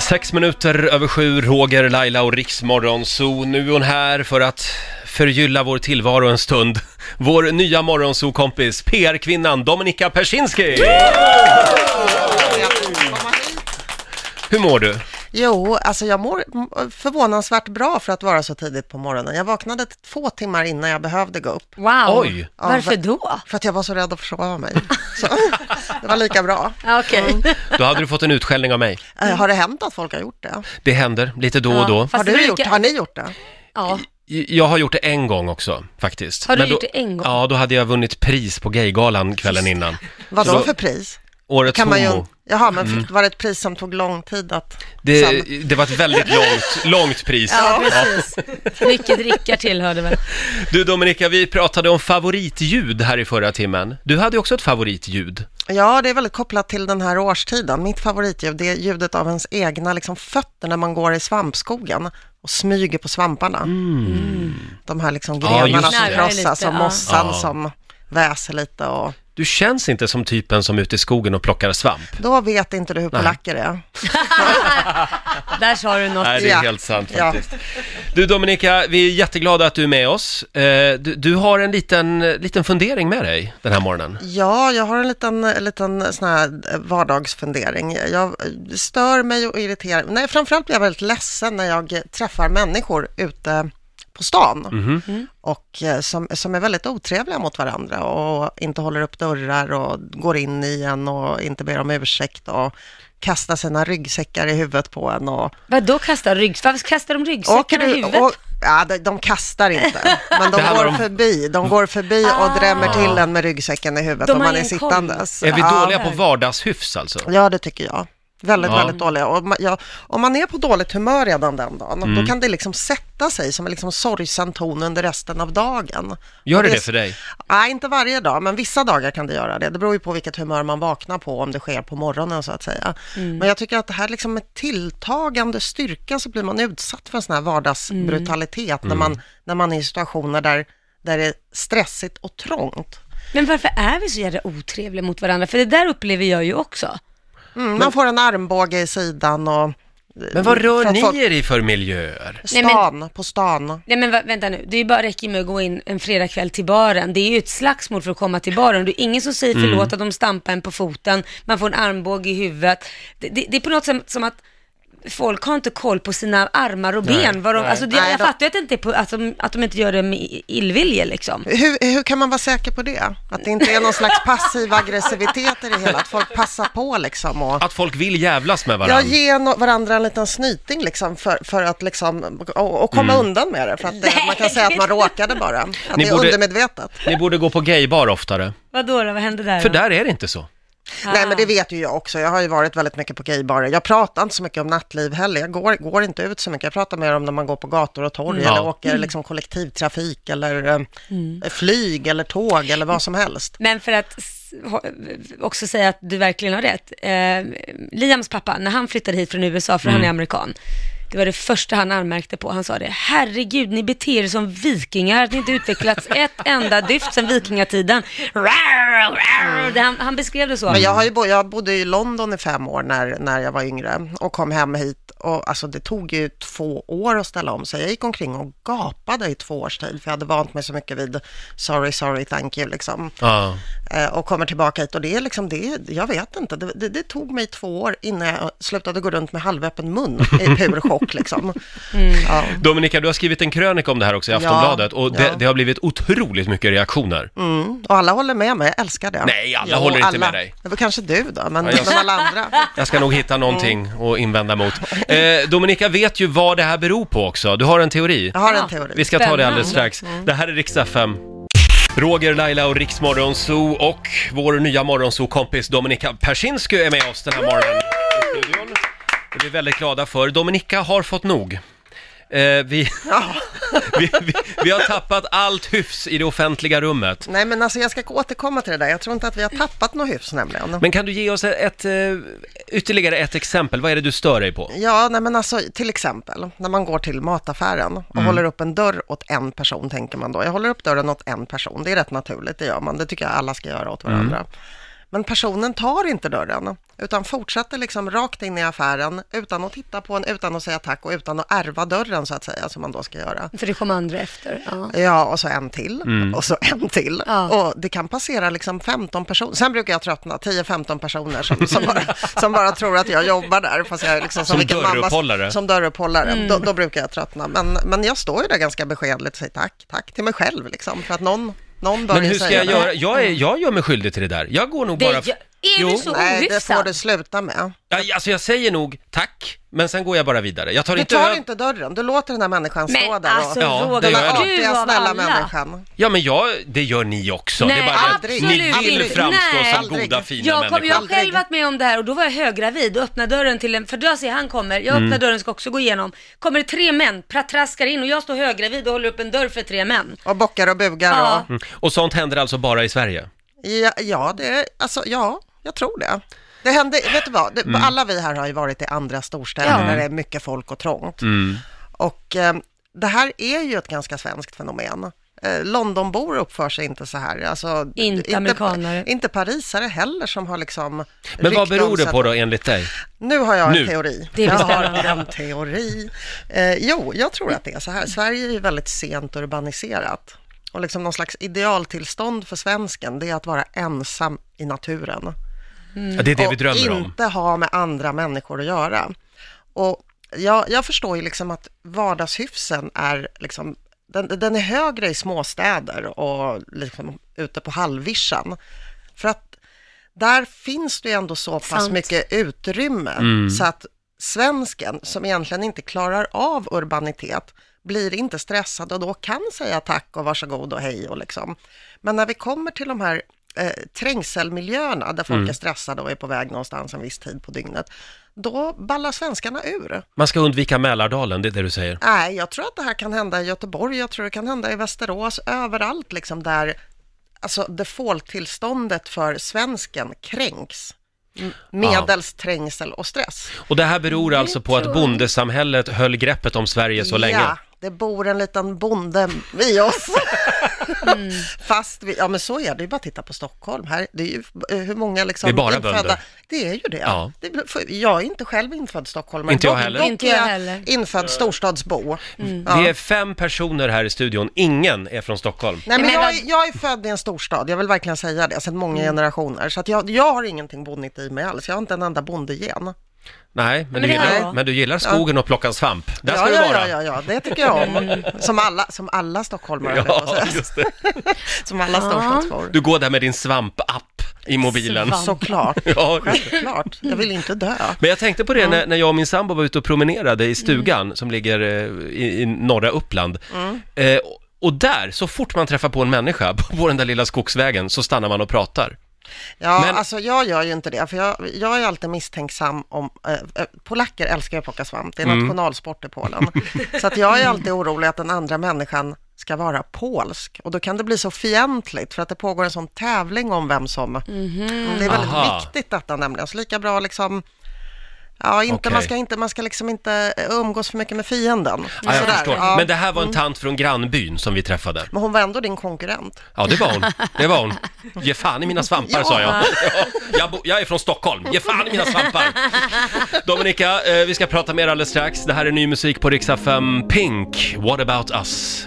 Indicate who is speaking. Speaker 1: Sex minuter över sju, Roger, Laila och Riksmorgon. Så nu är hon här för att förgylla vår tillvaro en stund. Vår nya morgonsokompis, PR-kvinnan Dominika Persinski! Hur mår du?
Speaker 2: Jo, alltså jag mår m- förvånansvärt bra för att vara så tidigt på morgonen. Jag vaknade t- två timmar innan jag behövde gå upp,
Speaker 3: Wow!
Speaker 1: Oj.
Speaker 3: Varför då?
Speaker 2: för att jag var så rädd att försova mig. Så, det var lika bra.
Speaker 3: Ja, Okej.
Speaker 1: Då hade du fått en utskällning av mig.
Speaker 2: Eh, Har det hänt att folk har gjort det?
Speaker 1: Det händer, lite då
Speaker 3: Ja,
Speaker 1: och då.
Speaker 3: fast
Speaker 2: Har,
Speaker 3: det
Speaker 2: du
Speaker 3: brukar-
Speaker 2: gjort, har ni gjort det?
Speaker 3: Ja.
Speaker 1: Jag har gjort det en gång också, faktiskt.
Speaker 3: Har du
Speaker 1: Men då,
Speaker 3: gjort det en gång?
Speaker 1: Ja, då hade jag vunnit pris på Gaygalan kvällen innan.
Speaker 2: Vad
Speaker 1: Så
Speaker 2: då
Speaker 1: då-
Speaker 2: för pris?
Speaker 1: Årets
Speaker 2: Kan man ju,
Speaker 1: homo.
Speaker 2: jaha, men fick, var det ett pris som tog lång tid att...
Speaker 1: Det,
Speaker 2: Sam-
Speaker 1: det var ett väldigt långt, långt pris.
Speaker 3: Ja, precis. Mycket drickar tillhörde väl.
Speaker 1: Du Dominika, vi pratade om favoritljud här i förra timmen. Du hade ju också ett favoritljud.
Speaker 2: Ja, det är väldigt kopplat till den här årstiden. Mitt favoritljud det är ljudet av ens egna liksom, fötter när man går i svampskogen och smyger på svamparna. De här liksom,
Speaker 1: Ja,
Speaker 2: grenarna
Speaker 1: just
Speaker 2: som
Speaker 1: det.
Speaker 2: krossas
Speaker 3: Lite,
Speaker 2: och
Speaker 3: ja.
Speaker 2: mossan
Speaker 1: Ja.
Speaker 2: som väser lite. Och...
Speaker 1: Du känns inte som typen som är ute i skogen och plockar svamp.
Speaker 2: Då vet inte du hur polacker är.
Speaker 3: Där sa du något.
Speaker 1: Nej, det är
Speaker 2: Ja.
Speaker 1: helt sant
Speaker 2: Ja.
Speaker 1: faktiskt. Du Dominika, vi är jätteglada att du är med oss. Eh, Du, du har en liten, liten fundering med dig den här morgonen.
Speaker 2: Ja, jag har en liten, liten sån här vardagsfundering. Jag stör mig och irriterar Nej, framförallt blir jag väldigt ledsen när jag träffar människor ute på stan och eh, som, som är väldigt otrevliga mot varandra och inte håller upp dörrar och går in i en och inte ber om ursäkt och kastar sina ryggsäckar i huvudet på en och
Speaker 3: Vadå kasta ryggsäck? Varför kastar de
Speaker 2: Åker
Speaker 3: ryggsäckarna i
Speaker 2: du,
Speaker 3: huvudet?
Speaker 2: och, ja, de, de kastar inte, men de
Speaker 1: Det handlar
Speaker 2: går
Speaker 1: om-
Speaker 2: förbi. De går förbi och drämmer till en med ryggsäcken i huvudet
Speaker 3: Ah. De
Speaker 2: om
Speaker 3: har
Speaker 2: man är
Speaker 3: ingen koll.
Speaker 2: sittandes.
Speaker 1: Är vi
Speaker 2: ja,
Speaker 1: dåliga på vardagshyfs alltså?
Speaker 2: Ja, det tycker jag. Väldigt,
Speaker 1: Ja.
Speaker 2: väldigt dåliga. Och ma- ja, om man är på dåligt humör redan den dagen,
Speaker 1: Mm.
Speaker 2: då kan det liksom sätta sig som en liksom sorgsen ton under resten av dagen.
Speaker 1: Gör
Speaker 2: Och
Speaker 1: det
Speaker 2: är
Speaker 1: det
Speaker 2: s-
Speaker 1: för dig?
Speaker 2: Nej, inte varje dag, men vissa dagar kan det göra det. Det beror ju på vilket humör man vaknar på, om det sker på morgonen så att säga.
Speaker 1: Mm.
Speaker 2: Men jag tycker att det här liksom med tilltagande styrka så blir man utsatt för en sån här
Speaker 1: Mm.
Speaker 2: vardagsbrutalitet när, man, när man är i situationer där, där det är stressigt och trångt.
Speaker 3: Men varför är vi så jävla otrevliga mot varandra? För det där upplever jag ju också.
Speaker 2: Mm, man får en armbåge i sidan och...
Speaker 1: Men vad
Speaker 2: för
Speaker 1: rör
Speaker 2: att folk-
Speaker 1: ni er i för miljöer?
Speaker 3: Nej,
Speaker 2: Stan,
Speaker 3: men-
Speaker 2: på stan.
Speaker 3: Nej men va- vänta nu, det är ju bara räcker med att gå in en fredagkväll till baren. Det är ju ett slagsmål för att komma till baren. Det är ingen som
Speaker 2: Mm.
Speaker 3: säger förlåt att de stampar en på foten, man får en armbåge i huvudet. Det, det, det är på något sätt som att folk har inte koll på sina armar och ben. vad de, alltså, det,
Speaker 2: Nej,
Speaker 3: jag
Speaker 2: de-
Speaker 3: fattar ju att, det inte är på, att, de, att de inte gör det med i- illvilje liksom.
Speaker 2: Hur, hur kan man vara säker på det? Att det inte är någon slags passiv aggressivitet i det hela, att folk passar på liksom och...
Speaker 1: Att folk vill jävlas med
Speaker 2: Ja,
Speaker 1: varandra?
Speaker 2: ge no- varandra en liten snyting liksom för, för att liksom, och, och komma undan med det. För att eh, man kan säga att man råkade bara. Att
Speaker 1: Mm. Ni
Speaker 2: det är
Speaker 1: borde-
Speaker 2: undermedvetet.
Speaker 1: Ni borde gå på gaybar oftare,
Speaker 3: Vadå då, vad hände där?
Speaker 1: för
Speaker 3: då?
Speaker 1: där är det inte så.
Speaker 2: Nej,
Speaker 3: Ah.
Speaker 2: men det vet ju jag också. Jag har ju varit väldigt mycket på gaybarer. Jag pratar inte så mycket om nattliv heller. Jag går, går inte ut så mycket. Jag pratar mer om när man går på gator och torg eller
Speaker 1: Mm. Ja.
Speaker 2: åker liksom kollektivtrafik eller eh,
Speaker 3: Mm.
Speaker 2: flyg eller tåg eller vad som helst.
Speaker 3: Men för att s- ha- också säga att du verkligen har rätt. Eh, Liams pappa, när han flyttade hit från USA, för
Speaker 1: Mm.
Speaker 3: han är amerikan, det var det första han anmärkte på. Han sa det, herregud, ni beter er som vikingar, att ni inte utvecklats ett enda dyft sedan vikingatiden. Rar, rar. Det, han, han beskrev det så.
Speaker 2: Men jag,
Speaker 1: Mm.
Speaker 2: har ju bo- jag bodde i London i fem år när, när jag var yngre och kom hem hit. Och, alltså, det tog ju två år att ställa om sig. Jag gick omkring och gapade i två års tid, för jag hade vant mig så mycket vid sorry, sorry, thank you. Liksom.
Speaker 1: Ja.
Speaker 2: Eh, och kommer tillbaka hit och det är liksom, det, jag vet inte, det, det, det tog mig två år innan jag slutade gå runt med halvöppen mun i pur chock. Liksom.
Speaker 1: Mm.
Speaker 2: Ja.
Speaker 1: Dominika, du har skrivit en krönika om det här också i Aftonbladet och det,
Speaker 2: ja.
Speaker 1: det har blivit otroligt mycket reaktioner.
Speaker 2: Mm. Och alla håller med mig, jag älskar det.
Speaker 1: Nej, alla håller inte med dig.
Speaker 2: Det var kanske du då, men,
Speaker 1: jag-
Speaker 2: men alla andra.
Speaker 1: Jag ska nog hitta någonting att invända mot. Eh, Dominika vet ju vad det här beror på också. Du har en teori.
Speaker 2: Jag har en
Speaker 3: Ja.
Speaker 2: teori.
Speaker 1: Vi ska ta det alldeles
Speaker 3: Spännande.
Speaker 1: strax. Det här är riksdag 5. Roger, Laila och Riksmorgon Zoo och vår nya morgonzoo-kompis Dominika Persinsky är med oss den här morgonen i studion. Det är vi väldigt glada för. Dominika har fått nog. Eh, vi, vi, vi, vi har tappat allt hyfs i det offentliga rummet.
Speaker 2: Nej, men alltså jag ska återkomma till det där. Jag tror inte att vi har tappat något hyfs nämligen.
Speaker 1: Men kan du ge oss ett, eh, ytterligare ett exempel? Vad är det du stör dig på?
Speaker 2: Ja, nej men alltså till exempel när man går till mataffären och håller upp en dörr åt en person tänker man då. Jag håller upp dörren åt en person, det är rätt naturligt, det gör man. Det tycker jag alla ska göra åt varandra. Men personen tar inte dörren, utan fortsätter liksom rakt in i affären utan att titta på en, utan att säga tack och utan att ärva dörren så att säga, som man då ska göra.
Speaker 3: För det kommer andra efter. Ja.
Speaker 2: Ja, och så en till
Speaker 1: Mm.
Speaker 2: och så en till.
Speaker 3: Ja.
Speaker 2: Och det kan passera liksom 15 personer. Sen brukar jag tröttna, 10-15 personer som, som, bara, som bara tror att jag jobbar där. Fast jag är liksom
Speaker 1: Som
Speaker 2: vilken mamma-
Speaker 1: dörrupphållare.
Speaker 2: Som dörrupphållare.
Speaker 3: Mm.
Speaker 2: Då, då brukar jag tröttna. Men, men jag står ju där ganska beskedligt och säger tack, tack till mig själv liksom. För att någon, någon börjar
Speaker 1: Men hur ska
Speaker 2: säga
Speaker 1: jag
Speaker 2: det.
Speaker 1: göra? Jag, är, jag gör mig skyldig till det där. Jag går nog
Speaker 3: Det
Speaker 1: bara...
Speaker 3: gör- är du så?
Speaker 2: Nej, det
Speaker 3: Ohyfsat.
Speaker 2: får du sluta med.
Speaker 1: Ja, Alltså jag säger nog tack, men sen går jag bara vidare. Jag tar
Speaker 2: Du
Speaker 1: inte
Speaker 2: tar
Speaker 1: öv-
Speaker 2: inte dörren, du låter den här människan stå
Speaker 3: Men
Speaker 2: där.
Speaker 3: alltså
Speaker 2: och,
Speaker 1: Ja, det
Speaker 3: Roger,
Speaker 2: den
Speaker 1: gör jag.
Speaker 2: här
Speaker 1: nog.
Speaker 3: du
Speaker 2: artiga,
Speaker 3: av
Speaker 2: snälla
Speaker 3: alla.
Speaker 2: människan.
Speaker 1: Ja, men jag, det gör ni också. det
Speaker 3: Nej,
Speaker 1: är bara det
Speaker 2: absolut
Speaker 1: att ni vill
Speaker 2: inte.
Speaker 1: framstå
Speaker 3: Nej.
Speaker 1: som
Speaker 2: Aldrig.
Speaker 1: goda, fina
Speaker 3: Jag, kom,
Speaker 1: människor.
Speaker 3: jag har
Speaker 2: Aldrig.
Speaker 3: själv varit med om det här och då var jag höggravid och öppnade dörren till en, för då ser jag han kommer, jag
Speaker 1: Mm.
Speaker 3: öppnar dörren ska också gå igenom. Kommer det tre män, pratraskar in och jag står höggravid och håller upp en dörr för tre män.
Speaker 2: Och bockar och bugar
Speaker 3: Ja.
Speaker 2: och...
Speaker 1: Mm. Och sånt händer alltså bara i Sverige?
Speaker 2: Ja, ja, det, alltså, ja jag tror det. Det hände, vet du vad, det,
Speaker 1: Mm.
Speaker 2: alla vi här har ju varit i andra storstäder
Speaker 3: Ja.
Speaker 2: där det är mycket folk och trångt.
Speaker 1: Mm.
Speaker 2: Och eh, det här är ju ett ganska svenskt fenomen. Eh, Londonbor uppför sig inte så här. Alltså,
Speaker 3: Inte amerikanare.
Speaker 2: Inte parisare heller som har liksom...
Speaker 1: Men vad
Speaker 2: ryckt om
Speaker 1: beror det
Speaker 2: sig
Speaker 1: på då enligt dig?
Speaker 2: Nu har jag en
Speaker 1: Nu.
Speaker 2: teori.
Speaker 3: Det är
Speaker 2: jag har
Speaker 3: spännande.
Speaker 2: en teori. Eh, jo, jag tror att det är så här. Sverige är ju väldigt sent urbaniserat. Och liksom någon slags idealtillstånd för svensken, det är att vara ensam i naturen.
Speaker 1: Ja, det är det vi drömmer
Speaker 2: Mm. och
Speaker 1: om.
Speaker 2: inte ha med andra människor att göra. Och jag, jag förstår ju liksom att vardagshyfsen är liksom, den, den är högre i småstäder och liksom ute på halvvischan. För att där finns det ju ändå så pass
Speaker 3: Sant.
Speaker 2: mycket utrymme så att svensken, som egentligen inte klarar av urbanitet, blir inte stressad och då kan säga tack och varsågod och hej och liksom. Men när vi kommer till de här eh, trängselmiljöerna där folk är stressade och är på väg någonstans en viss tid på dygnet, då ballar svenskarna ur.
Speaker 1: Man ska undvika Mälardalen, det är det du säger.
Speaker 2: Nej, jag tror att det här kan hända i Göteborg, jag tror det kan hända i Västerås, överallt liksom där alltså default-tillståndet för svensken kränks m- medels trängsel och stress.
Speaker 1: Och det här beror alltså på att bondesamhället höll greppet om Sverige så länge.
Speaker 2: Ja, det bor en liten bonde i oss.
Speaker 3: Mm.
Speaker 2: Fast vi, ja men så är det ju bara att titta på Stockholm här. Det är ju eh, hur många liksom
Speaker 1: Det är bara
Speaker 2: infödda-
Speaker 1: bönder.
Speaker 2: Det är ju det.
Speaker 1: Ja.
Speaker 2: det är- för jag är inte själv infödd stockholmare.
Speaker 1: Inte jag
Speaker 2: Dock-
Speaker 1: heller. Eh. Mm.
Speaker 2: dock
Speaker 3: Inte jag
Speaker 2: är
Speaker 3: heller.
Speaker 2: Infödd storstadsbo. Ja.
Speaker 1: Det är fem personer här i studion, ingen är från Stockholm.
Speaker 2: Nej, men
Speaker 3: Nej, men
Speaker 2: jag,
Speaker 3: vad-
Speaker 2: är- jag är född i en storstad, jag vill verkligen säga det, sedan många
Speaker 3: Mm.
Speaker 2: generationer. Så att jag, jag har ingenting bonnigt i mig alls, jag har inte en enda bondegen.
Speaker 1: Nej, men,
Speaker 3: Men
Speaker 1: du,
Speaker 3: det här
Speaker 1: gillar,
Speaker 3: då?
Speaker 1: men du gillar skogen och plocka svamp. Där ska
Speaker 2: ja,
Speaker 1: du
Speaker 2: ja,
Speaker 1: vara.
Speaker 2: ja, ja, ja, det tycker jag om. Som alla, som alla stockholmare, höll jag på
Speaker 1: Ja,
Speaker 2: att säga.
Speaker 1: just det.
Speaker 2: som alla storstadsbor.
Speaker 1: Du går där med din svampapp i mobilen.
Speaker 3: Svamp.
Speaker 2: Såklart.
Speaker 1: Ja, just det.
Speaker 2: Självklart. Jag vill inte dö.
Speaker 1: Men jag tänkte på det när, när jag och min sambo var ute och promenerade
Speaker 2: Mm.
Speaker 1: i stugan som ligger eh, i, i norra Uppland.
Speaker 2: Mm.
Speaker 1: Eh, och- och där, så fort man träffar på en människa på- på den där lilla skogsvägen så stannar man och pratar.
Speaker 2: Ja,
Speaker 1: Men-
Speaker 2: alltså jag gör ju inte det, för jag, jag är alltid misstänksam om... Eh, eh, polacker älskar ju att plocka svamp,
Speaker 1: Mm.
Speaker 2: det är nationalsport i Polen. så att jag är alltid orolig att den andra människan ska vara polsk. Och då kan det bli så fientligt, för att det pågår en sån tävling om vem som... Det är väldigt
Speaker 1: Mhm. Aha.
Speaker 2: viktigt detta nämligen, så lika bra liksom... Ja, inte,
Speaker 1: Okej.
Speaker 2: man, ska inte, man ska liksom inte eh, umgås för mycket med fienden.
Speaker 1: Ja, jag
Speaker 2: Sådär,
Speaker 1: förstår.
Speaker 2: ja. Mm.
Speaker 1: Men det här var en tant från grannbyn som vi träffade.
Speaker 2: Men hon var ändå din konkurrent.
Speaker 1: Ja, det var hon. Det var hon. Ge fan i mina svampar, sa jag. Ja, jag, bo, jag är från Stockholm. Ge fan i mina svampar. Dominika, eh, vi ska prata mer alldeles strax. Det här är ny musik på Riksa 5. Pink, What about us?